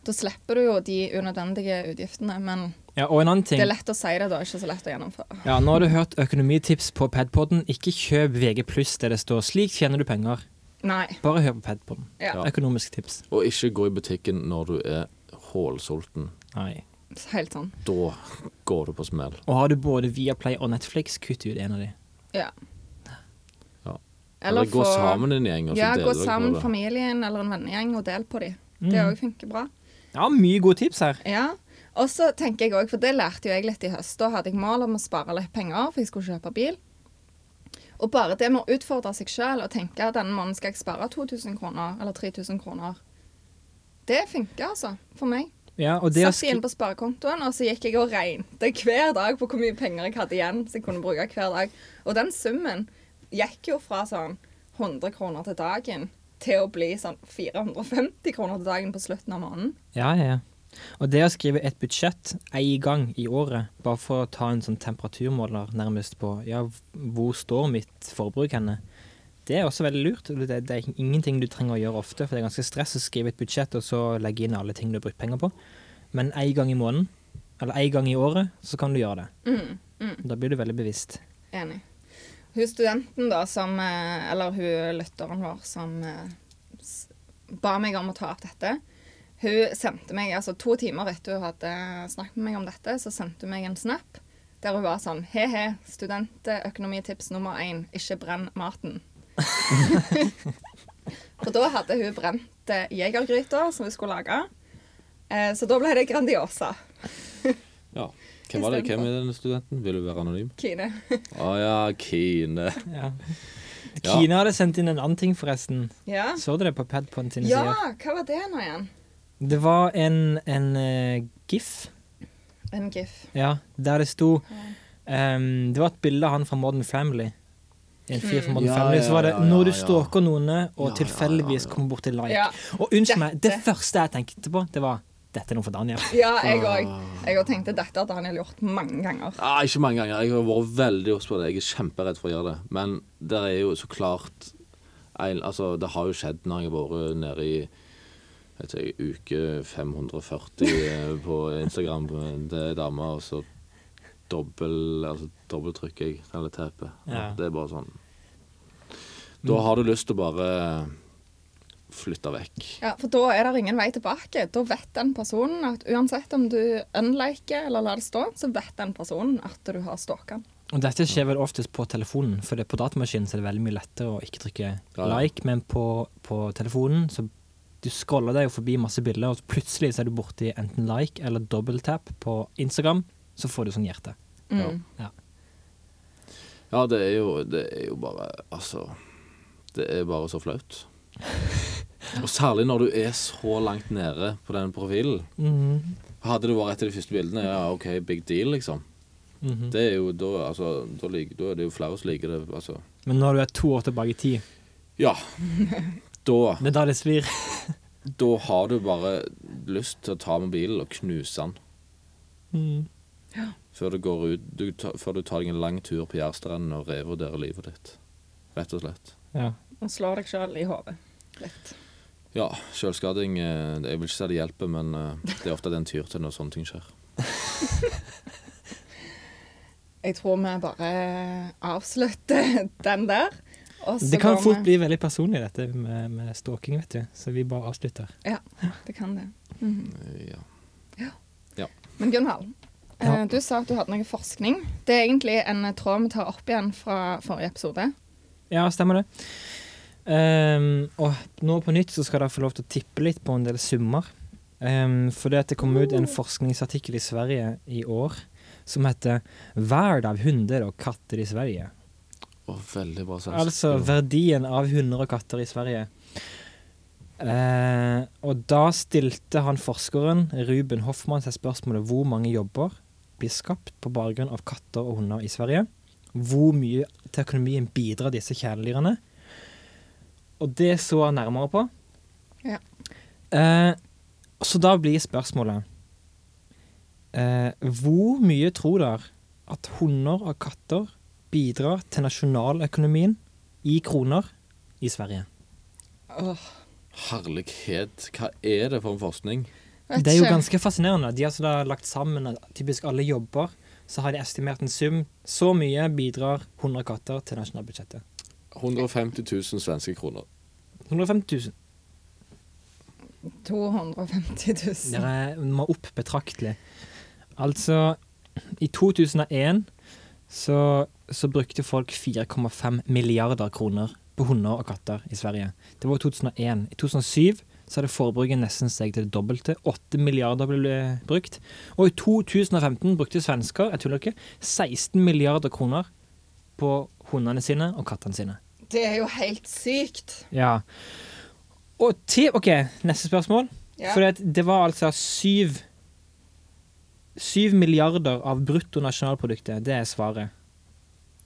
Da slipper du jo de unødvendige utgiftene, men Ja, og en annen ting. det er lett å si det, da. Ikke så lett å gjennomføre. Ja, nå har du hørt økonomitips på Padpodden. Ikke kjøp VG+, der det står 'slik tjener du penger'. Nei. Bare hør på Padpodden. Ja. Ja. Økonomiske tips. Og ikke gå i butikken når du er hålsulten. Nei. Helt sånn. Da går du på smell. Og har du både Viaplay og Netflix, kutt ut en av de. Ja. Ja. Eller, gå få- sammen i en gjeng, og så Ja, deler gå dere på sammen det. Mm. familien eller en vennegjeng og del på de. Det òg funker bra. Ja, mye gode tips her. Ja. Og så tenker jeg også, for det lærte jo jeg litt i høst. Da hadde jeg mål om å spare litt penger, for jeg skulle kjøpe bil. Og bare det med å utfordre seg sjøl og tenke at denne måneden skal jeg spare 2000 kroner eller 3000 kroner. Det funker altså, for meg. Ja, og det å Satt de skri inn på sparekontoen, og så gikk jeg og regnet hver dag på hvor mye penger jeg hadde igjen. Så jeg kunne bruke hver dag. Og den summen gikk jo fra sånn 100 kroner til dagen til å bli sånn 450 kroner til dagen på slutten av måneden. Ja, ja, ja. Og det å skrive et budsjett én gang i året, bare for å ta en sånn temperaturmåler nærmest på ja, hvor står mitt forbruk henne, det er også veldig lurt. Det, det er ingenting du trenger å gjøre ofte, for det er ganske stress å skrive et budsjett og så legge inn alle ting du har brukt penger på. Men én gang i måneden, eller én gang i året, så kan du gjøre det. Da blir du veldig bevisst. Enig. Hun studenten da, som, eh, eller hun lytteren vår som eh, s- ba meg om å ta opp dette, hun sendte meg, altså to timer etter hun hadde snakket med meg om dette, så sendte hun meg en snap der hun var sånn, he he, studentøkonomitips nummer én, ikke brenn maten. For da hadde hun brent eh, jegergryter som hun skulle lage, eh, så da ble det grandiosa, Ja. Hvem var det? Istedenfor. Hvem er denne studenten? Vil du være anonym? Kine. Å ja, Kine. Ja. Ja. Kine hadde sendt inn en annen ting, forresten. Ja. Så du det på padpoden sine ja, sider? hva var det nå igjen? Det var en, en eh, gif. En gif. Ja, der det sto ehm, Det var et bilde av han fra Modern Family. En fyr Mm. fra Modern Ja, Family. ja, Så var det ja, ja, 'Når du ja. stalker noen eh, og Ja, tilfeldigvis ja, ja, ja. kommer borti like'. Ja. Og unnskyld meg, det Dette. første jeg tenkte på, det var 'Dette er noe for Daniel'. Ja, jeg Ah. òg. Jeg òg tenkte dette hadde Daniel gjort mange ganger. Ah, ikke mange ganger. Jeg har vært veldig obs på det. Jeg er kjemperedd for å gjøre det. Men det er jo så klart en, altså, Det har jo skjedd når jeg har vært nede i vet ikke, uke 540 på Instagram på en dame, og så dobbel, altså, dobbeltrykker jeg eller teipet. Ja. Det er bare sånn. Da har du lyst til å bare flytte vekk. Ja, For da er det ingen vei tilbake. Da vet den personen at uansett om du unliker eller lar det stå, så vet den personen at du har stalka. Og dette skjer vel oftest på telefonen, for det, på datamaskinen så er det veldig mye lettere å ikke trykke Ja, ja. like, men på, på telefonen så du scroller deg jo forbi masse bilder, og så plutselig så er du borti enten like eller dobbelttap på Instagram, så får du sånn hjerte. Ja. Mm. Ja. Ja, det er jo, det er jo bare Altså Det er bare så flaut. Og særlig når du er så langt nede på den profilen. Mm-hmm. Hadde det vært et av de første bildene, ja OK, big deal, liksom. Det er jo da altså, da, lik- da er det jo flere som liker det, altså. Men når du er to år tilbake i tid, Ja. Da, det er da det svir. da har du bare lyst til å ta mobilen og knuse den. Mm. Før du går ut du, ta- Før du tar deg en lang tur på Jærstranden og revurderer livet ditt. Rett og slett. Ja. Og slår deg sjøl i hodet. Litt. Ja, selvskading eh, Jeg vil ikke si det hjelper, men eh, det er ofte den tyr til når sånne ting skjer. Jeg tror vi bare avslutter den der. og så Det kan går fort vi- bli veldig personlig, dette med, med stalking, vet du. Så vi bare avslutter. Ja, det kan det. Eh, Ja. Men Gunvald, Ja. eh, du sa at du hadde noe forskning. Det er egentlig en eh, tråd vi tar opp igjen fra forrige episode. Ja, stemmer det. Ehm, og nå på nytt så skal dere få lov til å tippe litt på en del summer. Um, for det, at det kom ut en forskningsartikkel i Sverige i år som heter 'Verd av hunder og katter i Sverige'. Å, veldig bra sens. Altså verdien av hunder og katter i Sverige. Eh, og da stilte han forskeren Ruben Hoffmann seg spørsmålet hvor mange jobber blir skapt på bakgrunn av katter og hunder i Sverige. Hvor mye til økonomien bidrar disse kjæledyrene? Og det så han nærmere på. Ja. Eh, så da blir spørsmålet eh, Hvor mye tror dere at hunder og katter bidrar til nasjonaløkonomien i kroner i Sverige? Åh, Herlighet, hva er det for en forskning? vet Det er jo ikke. ganske fascinerende. De har altså da lagt sammen typisk alle jobber. Så har de estimert en sum. Så mye bidrar 100 katter til nasjonalbudsjettet. 150 000 svenske kroner. 150 000. 250 000. Dere må opp betraktelig. Altså, i 2001 så, så brukte folk 4,5 milliarder kroner på hunder og katter i Sverige. Det var i 2001. I 2007 så hadde forbruket nesten steget til det dobbelte. 8 milliarder ble eh, brukt. Og i 2015 brukte svensker jeg tuller ikke, 16 milliarder kroner på hundene sine og kattene sine. Det er jo helt sykt. Ja. Og til OK, neste spørsmål. Ja. For det, det var altså syv Syv milliarder av bruttonasjonalproduktet, det er svaret.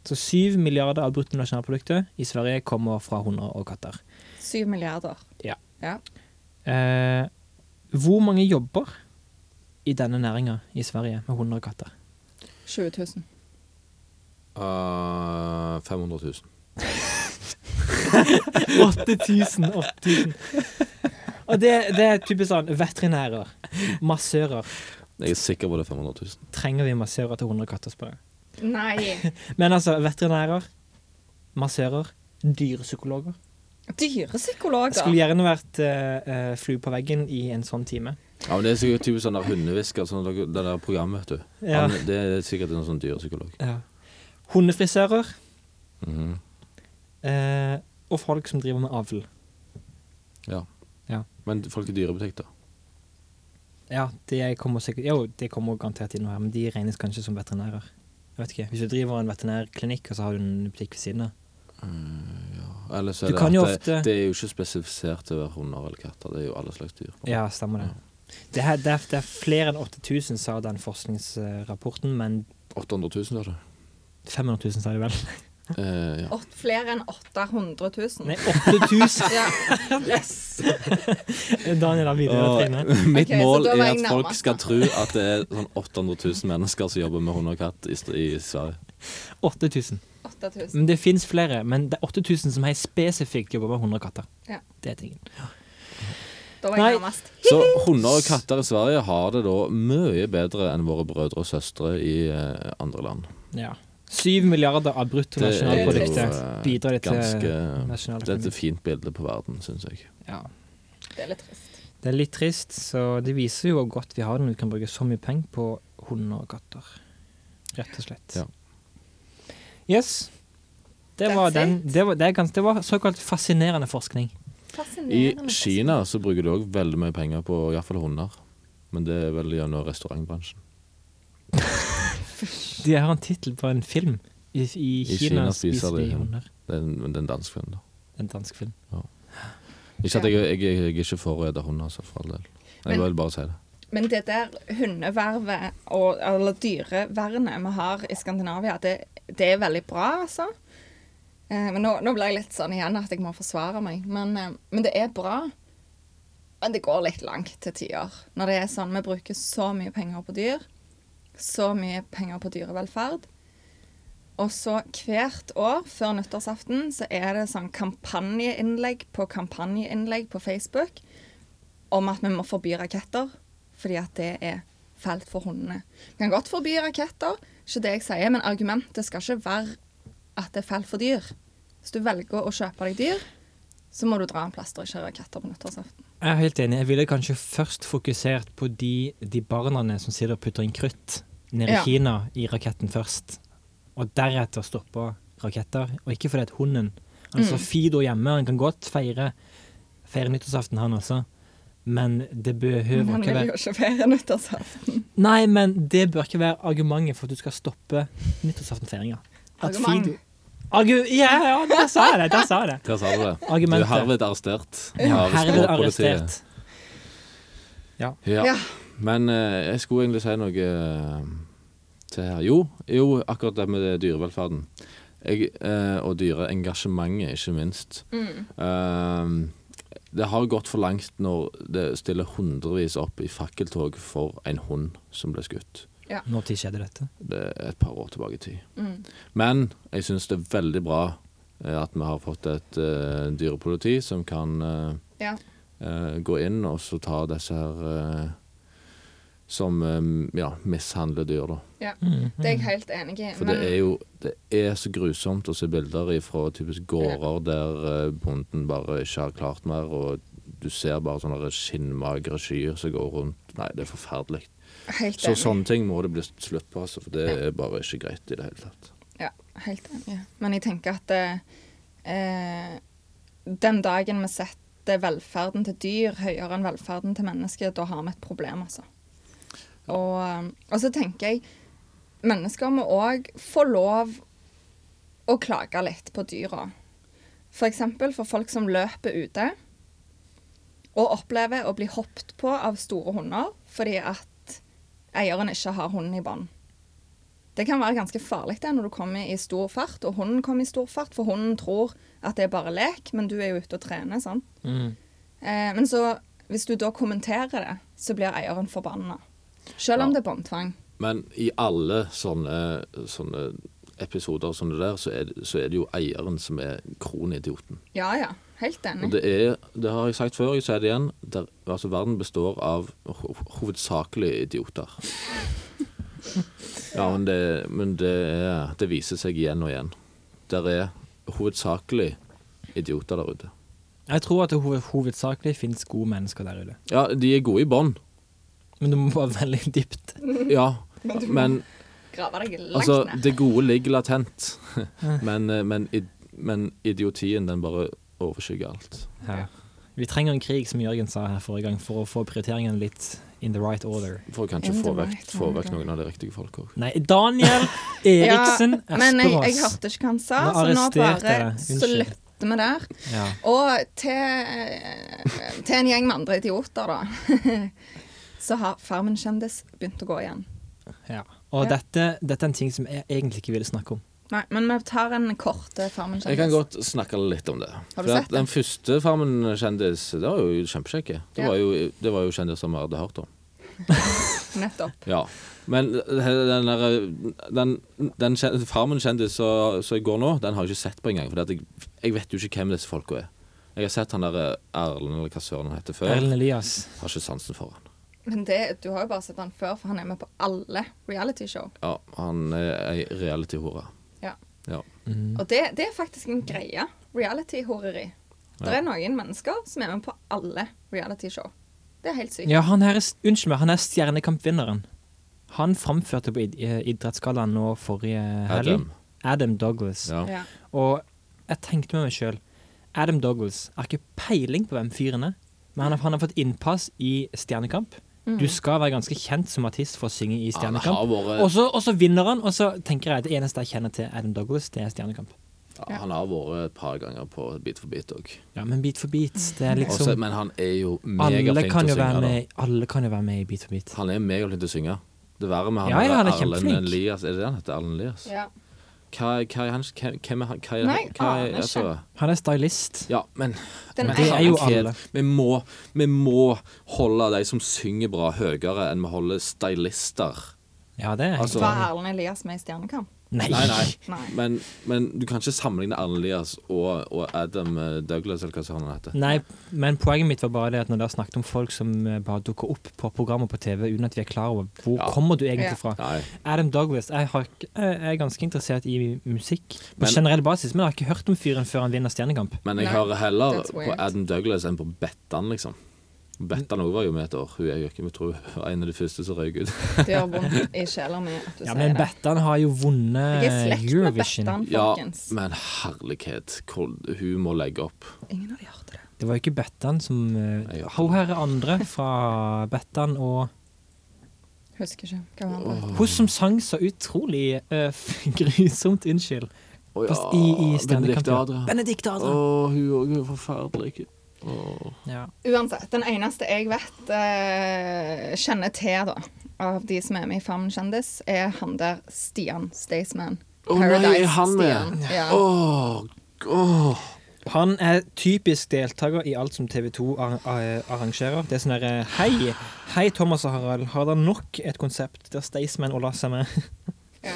Så syv milliarder av bruttonasjonalproduktet i Sverige kommer fra hunder og katter. Syv milliarder. Ja. Ja. Eh, hvor mange jobber i denne næringa i Sverige med hunder og katter? 20 000. Eh, 500 000. 8000! 8000. Og det, det er typisk sånn veterinærer, massører. Jeg er sikker på det er 500 000. Trenger vi massører til hunder og katter, spør jeg. Nei. Men altså, veterinærer, massører, dyrepsykologer. Jeg skulle Dyrepsykologer. gjerne vært uh, flue på veggen i en sånn time. Ja, men Det er sikkert typisk sånn der hundehvisker, sånn der- det der programmet, vet du. Ja. Han, det er sikkert en sånn dyrepsykolog. Ja. Hundefrisører Mhm. eh, og folk som driver med avl. Ja. Ja. Men folk i dyrebutikk, da? Ja, det kommer sikkert Jo, det kommer garantert inn her, men de regnes kanskje som veterinærer. Jeg vet ikke, Hvis du driver en veterinærklinikk, og så har du en butikk ved siden av. Eller så er Du det, kan jo at det, ofte- det er jo ikke spesifisert til å være hunder eller katter. Det er jo alle slags dyr. Ja, stemmer det. Det, her, det, er, det er flere enn 8000, sa den forskningsrapporten, men 800 000, sa du? 500 000 sa de vel. Eh, ja. Åt- Flere enn 800 000. Nei, 8000! Ja. Daniel har videre, Og Trine. mitt Ok, så mål da var er jeg at nærmest, folk da. skal tro at det er sånn 800 000 mennesker som jobber med hund og katt i, st- i Sverige. 8000. 8000. Men det fins flere, men det er 8000 som helt spesifikt jobber med 100 katter. Ja. Det er tingen. Da var jeg Nei. nærmest. Så hunder og katter i Sverige har det da mye bedre enn våre brødre og søstre i eh, andre land. Ja. Syv milliarder av Det bruttonasjonalproduktet eh, bidrar det til ganske Det er nasjonaløkonomien. et fint bilde på verden, syns jeg. Ja. Det er litt trist. Det er litt trist, så det viser jo hvor godt vi har det når vi kan bruke så mye penger på hunder og katter. Rett og slett. Ja. Yes. Det That's var, den, it. det, var, det, er gans, det var såkalt fascinerende forskning. I Fascinerende. Kina så bruker de òg veldig mye penger på iallfall hunder. Men det er vel gjennom restaurantbransjen. De har en tittel på en film. I, i, Kina, spiser de hunder. Det er en, det er en dansk film, da. En dansk film. Ikke at jeg, jeg, jeg, jeg er ikke for å spise hund, altså, for all del. Jeg Men- vil bare si det. Men det der hundevervet, og, eller dyrevernet vi har i Skandinavia, det, det er veldig bra, altså. Eh, men nå, nå ble jeg litt sånn igjen at jeg må forsvare meg. Men, eh, men det er bra. Men det går litt langt til tider. Når det er sånn vi bruker så mye penger på dyr, så mye penger på dyrevelferd. Og så hvert år før nyttårsaften så er det sånn kampanjeinnlegg på kampanjeinnlegg på Facebook om at vi må forby raketter, fordi at det er fælt for hundene. Vi kan godt forby raketter, ikke det jeg sier, men argumentet skal ikke være at det er fælt for dyr. Hvis du velger å kjøpe deg dyr, så må du dra en plass der ikke er raketter på nyttårsaften. Jeg er helt enig. Jeg ville kanskje først fokusert på de, de barna som sitter og putter inn krutt nede Ja. i Kina i raketten først, og deretter stoppe raketter. Og ikke fordi at Mm. hunden Altså Fido hjemme, han kan godt feire, feire nyttårsaften, han også, Men det behøver Men han ikke vil være jo ikke feire nyttårsaften. Nei, men det bør ikke være argumentet for at du skal stoppe nyttårsaftenfeiringa. At Argument. Fido Argu... Ja, ja, der sa jeg det! Der sa jeg det. Der sa du det. Du Argumentet. er herved arrestert. Ja, av Herved språkpolitiet. arrestert. Ja. Ja. Men eh, jeg skulle egentlig si noe eh, til her. Jo, jo akkurat det med dyrevelferden. Jeg, eh, og dyreengasjementet, ikke minst. Eh, det har gått for langt når det stiller hundrevis opp i fakkeltog for en hund som ble skutt. Når tid skjedde dette? Det er et par år tilbake i tid. Men jeg syns det er veldig bra eh, at vi har fått et eh, dyrepoliti som kan eh, Ja. eh, gå inn og så ta disse her eh, som eh, ja, mishandler dyr, da. ja. Det er jeg helt enig i. Mm-hmm. For det er jo det er så grusomt å se bilder fra typisk gårder der eh, bonden bare ikke har klart mer, og du ser bare sånne der skinnmagre skyer som går rundt. Nei, det er forferdelig. helt Så sånn enig. sånne ting må det bli slutt på, altså, for det er bare ikke greit i det hele tatt. Ja, helt enig. Men jeg tenker at eh, den dagen vi setter velferden til dyr høyere enn velferden til mennesker, da har vi et problem, altså. Og, eh, og så tenker jeg mennesker må òg få lov å klage litt på dyra. For eksempel for folk som løper ute og opplever å bli hoppet på av store hunder fordi at eieren ikke har hunden i bånd. Det kan være ganske farlig det når du kommer i stor fart, og hunden kommer i stor fart, for hunden tror at det er bare lek, men du er jo ute og trener. sant? Eh, men så, hvis du da kommenterer det, så blir eieren forbanna. Selv om Ja. det er båndtvang. Men i alle sånne, sånne episoder som det der, så er, det- så er det jo eieren som er kronidioten. Ja ja, helt Og enig. det er, det har jeg sagt før, jeg sier det igjen, der, altså verden består av ho hovedsakelig idioter. Ja, men, det, men det, er, det viser seg igjen og igjen. Der er hovedsakelig idioter der ute. Jeg tror at det hoved, hovedsakelig finnes gode mennesker der ute. Ja, de er gode i bånd, Men du må bare veldig dypt. ja, men Grave deg langt Altså, ned. det gode ligger latent, men, eh, men, id men idiotien den bare overskygger alt. Ja. Vi trenger en krig, som Jørgen sa her forrige gang, for å få prioriteringen litt in the right order. For å kanskje In the få right vekk, få vekk order. noen av de riktige folka òg. Nei, Daniel Eriksen ja, men jeg, jeg Esperås. hørte ikke hva han sa, Nå så nå arresterte bare jeg deg. Unnskyld. slutter vi der. Ja. Og til, til en gjeng med andre idioter, da, så har Farmen kjendis begynt å gå igjen. Ja. Og Ja. Dette, dette er en ting som jeg egentlig ikke ville snakke om. Nei, men vi tar en kort eh, Farmen kjendis. Jeg kan godt snakke litt om det. Har du For at sett det? den første Farmen kjendis, det var jo kjempekjekke. Det, Ja. var jo- det var jo kjendiser vi hadde hørt om. Nettopp. Ja. Men den, der, den, den kjen- Farmen kjendis som som jeg går nå, den har jeg ikke sett på engang. For jeg, jeg vet jo ikke hvem disse folka er. Jeg har sett han der eh, Erlend, eller hva søren han heter før. Erlend Elias. Har ikke sansen for han. Men det, du har jo bare sett han før, for han er med på alle realityshow. Ja, han er ei reality-hore. Ja. Ja. Og det, det er faktisk en greie. Reality-horeri. Det er noen mennesker som er med på alle realityshow. Det er helt sykt. Ja, han her er, unnskyld meg, han er Stjernekampvinneren. Han framførte på id eh, Idrettsgallaen nå forrige helg. Adam. Adam Douglas. Ja. Ja. Og jeg tenkte med meg sjøl Adam Douglas har ikke peiling på hvem fyren er, men han har, han har fått innpass i Stjernekamp. Du skal være ganske kjent som artist for å synge i Han har Stjernekamp. vært- Og så- og så vinner han, og så tenker jeg at det eneste jeg kjenner til Adam Douglas, det er Stjernekamp. Ja, han har vært et par ganger på Beat for beat òg. Ja, Men Beat for beat, det er Også- liksom Men han er jo Alle megaflink kan til jo å synge. være da. med, alle kan jo være med i Beat for beat. Han er megaflink til å synge. Det verre med han Ja, ja, der han er Erlend kjempeflink. Elias Er det det han heter? Erlend Elias? Ja. Hva, hva er han hvem- Hvem er han? Hva er, Nei, ah, hva er, aner altså, Han er stylist. ja, men Den men Det er jo herregud, alle. Vi må, vi må holde de som synger bra, høyere enn vi holder stylister. Ja, det er Altså- Var Erlend Elias med i Stjernekamp? Nei. Nei, nei. Nei. Men, men du kan ikke sammenligne Erlend Elias og, og Adam eh, Douglas, eller hva søren han heter. Nei, men poenget mitt var bare det at når dere snakket om folk som eh, bare dukker opp på programmer på TV uten at vi er klar over hvor Ja. kommer du Ja. egentlig fra. Nei. Adam Douglas jeg, har, ikke- jeg er ganske interessert i musikk på Men- generell basis, men jeg har ikke hørt om fyren før han vinner Stjernekamp. Men jeg Nei, hører heller that's på weird. Adam Douglas enn på Bettan, liksom. Bettan òg var jo med et år. Hun er jo ikke jeg tror, hun var en av de første som røyk ut. Det gjør vondt i sjela mi at du Ja, sier Men det. Bettan har jo vunnet Jeg er i slekt med Eurovision. Bettan, Ja, folkens. men herlighet, hvor- hun må legge opp. Ingen av de hørte det. Det var jo ikke Bettan som eh, Jeg vet Hun her er andre fra Bettan og Husker ikke. Hva var det? Hun som sang så utrolig eh, f- grusomt, unnskyld. Å ja, Fast i, i Benedicte standup-kampen. Adria. Benedikt Å, hun òg er forferdelig. Å. Ja. Uansett, den eneste jeg vet eh, kjenner til da, av de som er med i Farmen kjendis, er han der Stian Staysman. Å nei, er han Paradise-Stian. med? Ja. Åh, åh. Han er typisk deltaker i alt som TV 2 arrangerer. Det er sånn derre Hei, hei Thomas og Harald. Har dere nok et konsept der Staysman og Lasse er med? Ja.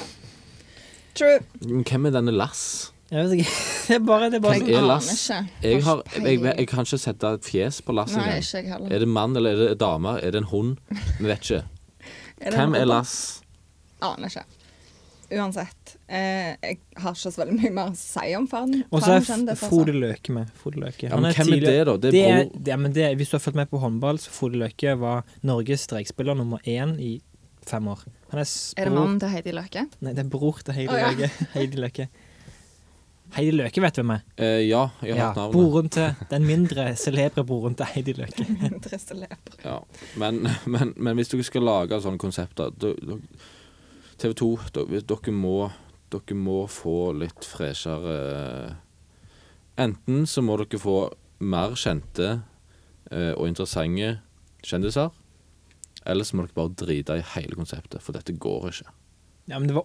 True. Men Hvem er denne Lars? Jeg vet ikke. Det er bare, det er bare sånn. Hvem Jeg er aner Lars? ikke. Jeg, har, Har ikke jeg, jeg, peiling. jeg kan ikke sette et fjes på Lars Nei, engang. ikke jeg heller. Er det mann eller er det dame? Er det en hund? Vi vet ikke. Er det Hvem noe? er Lars? Aner ikke. Uansett. Eh, jeg har ikke så veldig mye mer å si om Farmen Og så er Farmen kjendis, F- altså. Frode Løke med. Frode Løke. Ja, men hvem er tidligere- det da? Det er bror- ja, men det, hvis du har fulgt med på håndball, så Frode Løke var Norges strekspiller nummer én i fem år. Han er, s- Er det bror- mannen til Heidi Løke? Nei, det er bror til Heidi Å, ja. Løke. Heidi Løke. Heidi Løke vet hvem er. Eh, ja, jeg har Ja, hørt navnet. broren til, den mindre celebre broren til Heidi Løke. Triste leper. Ja. Men, men, men hvis dere skal lage sånne konsepter TV 2, dere må, dere må få litt freshere eh, Enten så må dere få mer kjente eh, og interessante kjendiser. Eller så må dere bare drite i hele konseptet, for dette går ikke. Ja, men det var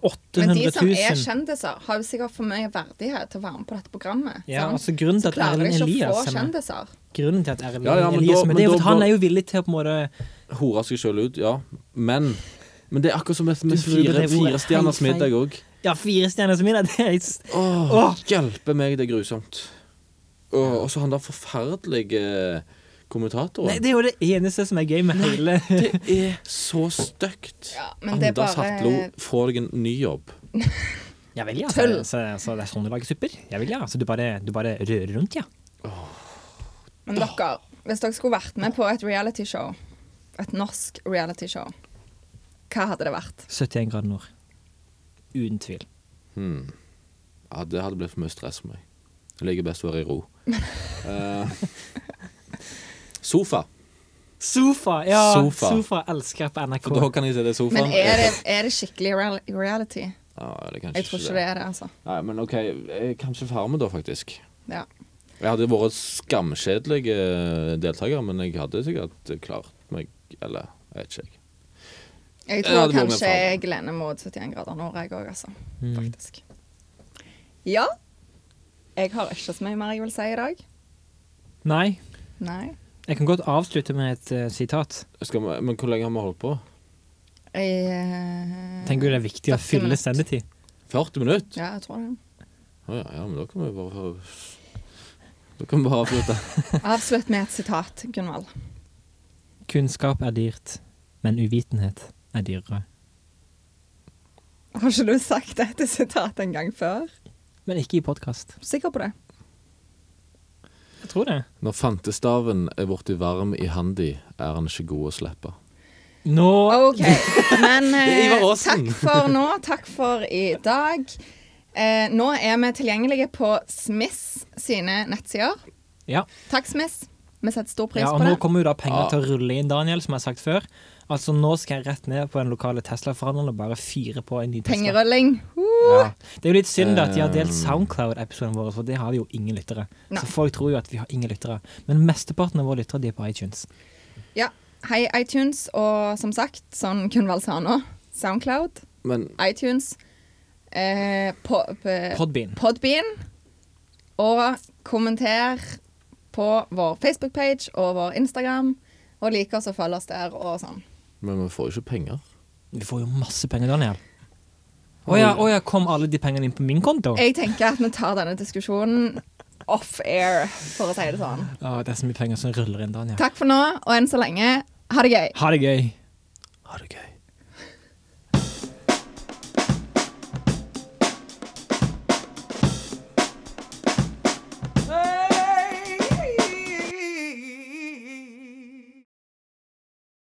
800 Men de som 000. er kjendiser, har jo sikkert for mye verdighet til å være med på dette programmet. Ja, sant? altså grunnen til Så at klarer de Erlend ikke å Elias få er med. kjendiser. Grunnen til at Erlend Ja, ja, men Elias da- men men det er jo da- at han da- er jo villig til å på en måte Hore seg sjøl ut, ja. Men, men det er akkurat som dette med Du bruker det fire, ordet fire stjerners helt feil. middag òg. Ja, fire stjerner som mine! Det er s- Åh, Åh. hjelpe meg, det er grusomt. Åh, og så han der forferdelige Nei, kommentatoren. det er jo det eneste som er gøy med hele det, er så stygt. Ja, men det er Anders bare- Hatlo, få deg en ny jobb. Jeg vil, ja. Så, Tøll. så, så det er sånn du lager supper? Jeg vil, ja. Så du bare, du bare rører rundt, ja? Men dere, hvis dere skulle vært med på et realityshow, et norsk realityshow, hva hadde det vært? 71 grader nord. Uten tvil. Ja, det hadde blitt for mye stress for meg. Jeg liker best å være i ro. Eh, sofa. Sofa! Ja, Sofa. sofa, elsker jeg på NRK. For da kan jeg se det sofaen. Men er det, er det skikkelig real reality? Ja, eller kanskje Jeg tror ikke det er det, altså. Nei, men OK, jeg kan ikke være med da, faktisk. Ja. Jeg hadde vært skamkjedelig eh, deltaker, men jeg hadde sikkert klart meg Eller jeg vet ikke. jeg. Jeg Ja, det tror Mm. må vi kanskje prøve. jeg lener mot 71 grader nord, jeg òg, altså. Faktisk. Ja. Jeg har ikke så mye mer jeg vil si i dag. Nei. Nei. Jeg kan godt avslutte med et eh, sitat. Skal vi, men hvor lenge har vi holdt på? Jeg, eh, Tenker du det er viktig å 40 fylle minutt. sendetid? 40 minutter? Ja, jeg tror det. Å ja, ja, men da kan vi bare få- Da kan vi bare avslutte. Avslutt med et sitat, Gunvald. Kunnskap er dyrt, men uvitenhet er dyrere. Har ikke du sagt dette sitatet en gang før? Men ikke i podkast. Sikker på det. Jeg tror det. Når fantestaven er borti varm i handi, er han ikke god å slippe. Nå Ah, OK. Men er Ivar eh, Aasen. takk for nå. Takk for i dag. Eh, nå er vi tilgjengelige på Smiss sine nettsider. Ja. Takk, Smiss. Vi setter stor pris ja, og på nå det. kommer jo da penger Ja. til å rulle inn, Daniel, som jeg har sagt før. Altså, nå skal jeg rett ned på den lokale Tesla-forhandleren og bare fyre på en ny Tesla. Pengerulling. Uh. Ja. Det er jo litt synd da at de har delt Soundcloud-episoden vår, for det har vi jo ingen lyttere. Nei. Så folk tror jo at vi har ingen lyttere. Men mesteparten av våre lyttere de er på iTunes. Ja. Hei, iTunes. Og som sagt, som Gunvald sa nå, Soundcloud, Men iTunes, eh, på, på, Podbean. Podbean. Og kommenter på vår Facebook-page og vår Instagram. Og lik oss og følg oss der og sånn. men vi får jo ikke penger. Vi får jo masse penger, Daniel. Å ja, å ja, kom alle de pengene inn på min konto? Jeg tenker at vi tar denne diskusjonen off-air, for å si det sånn. Å, Ah, det er så mye penger som ruller inn, Daniel. Takk for nå, og enn så lenge, ha det gøy. Ha det gøy. Ha det gøy.